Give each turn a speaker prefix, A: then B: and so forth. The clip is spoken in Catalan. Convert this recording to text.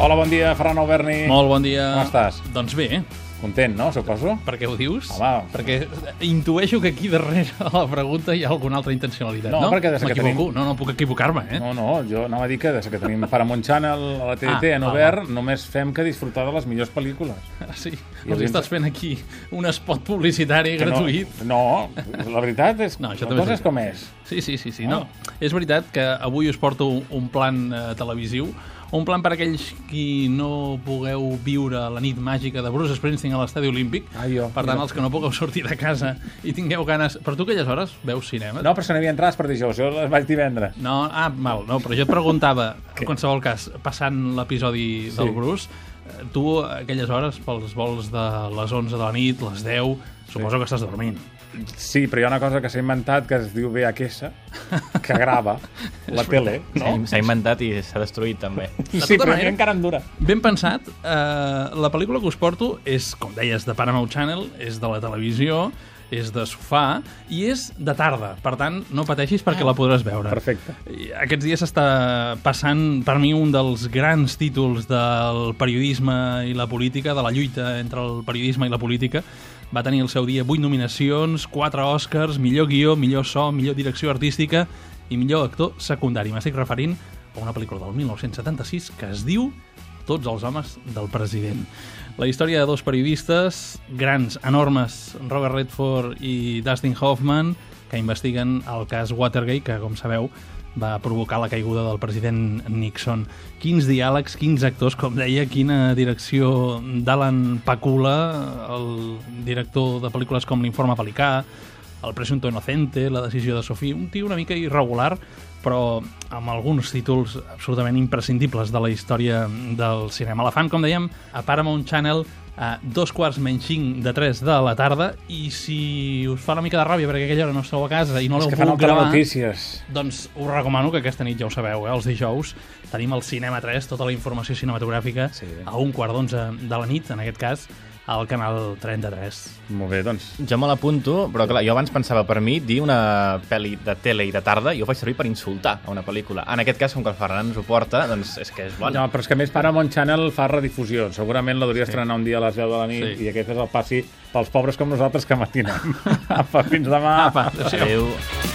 A: Hola, bon dia, Ferran Alberni.
B: Molt bon dia.
A: Com estàs?
B: Doncs bé,
A: Content, no, suposo?
B: per què ho dius?
A: Home.
B: Perquè intueixo que aquí darrere a la pregunta hi ha alguna altra intencionalitat,
A: No,
B: no?
A: perquè des que
B: M'equivoco?
A: tenim-
B: No, no puc equivocar-me, eh?
A: No, no, jo anava a dir que des que tenim Paramount Channel a la TDT
B: Ah,
A: en
B: va,
A: obert, només fem que disfrutar de les millors pel·lícules.
B: Sí,
A: I
B: els
A: els
B: estàs fent aquí un spot publicitari
A: Que
B: gratuït.
A: No, no, la veritat és
B: No, això
A: la
B: també és
A: cosa és
B: veritat.
A: com és.
B: Sí, sí, sí, sí. No. És veritat que avui us porto un plan eh, televisiu, un plan per aquells qui no pugueu viure la nit màgica de Bruce Springsteen a l'estadi olímpic.
A: Ai, jo,
B: per tant,
A: mira.
B: els que no pugueu sortir de casa i tingueu ganes... Per tu a aquelles hores veus cinema?
A: No, però se n'havia entrat per dijous, jo les vaig divendres.
B: No, ah, mal, no, però jo et preguntava, en qualsevol cas, passant l'episodi del
A: Sí.
B: Bruce, eh, tu a aquelles hores, pels vols de les 11 de la nit, les 10, suposo que estàs dormint.
A: Sí, però hi ha una cosa que s'ha inventat que es diu VHS, que grava la tele, no?
C: S'ha inventat i s'ha destruït, també.
A: Sí, però a mi
B: tota manera-
A: encara em dura.
B: Ben pensat, eh, la pel·lícula que us porto és, com deies, de Paramount Channel, és de la televisió, és de sofà i és de tarda. Per tant, no pateixis perquè la podràs veure.
A: Perfecte.
B: I Aquests dies s'està passant, per mi, un dels grans títols del periodisme i la política, de la lluita entre el periodisme i la política. Va tenir el seu dia 8 nominacions, 4 Oscars, millor guió, millor so, millor direcció artística i millor actor secundari. M'estic referint a una pel·lícula del 1976 que es diu Tots els homes del president. La història de dos periodistes grans, enormes, Robert Redford i Dustin Hoffman, que investiguen el cas Watergate, que, com sabeu, va provocar la caiguda del president Nixon. Quins diàlegs, quins actors, com deia, quina direcció d'Alan Pakula, el director de pel·lícules com L'informe Pelicà, El presunto inocente, La decisió de Sofí, un tio una mica irregular, però amb alguns títols absolutament imprescindibles de la història del cinema. La fan, com dèiem, a Paramount Channel a dos quarts menys cinc de tres de la tarda i si us fa una mica de ràbia perquè aquella hora no esteu a casa i no
A: És
B: l'heu
A: que fan
B: pogut
A: altres
B: gravar...
A: notícies.
B: Doncs us recomano que aquesta nit, ja ho sabeu, eh, els dijous tenim al Cinema 3 tota la informació cinematogràfica
A: Sí.
B: sí. a un quart d'onze de la nit, en aquest cas, al canal 33.
A: Molt bé, doncs.
C: Jo me l'apunto, però clar, jo abans pensava per mi dir una pel·li de tele i de tarda, jo ho faig servir per insultar a una pel·lícula. En aquest cas, com que el Ferran ens ho porta, doncs és que és bon.
A: No, però és que a més Paramount Channel fa redifusions. Segurament la hauria sí. estrenar un dia a les 10 de la nit
B: Sí.
A: i aquest és el passi pels pobres com nosaltres que matinem. Apa, fins demà.
B: Apa, adéu.
C: Adéu.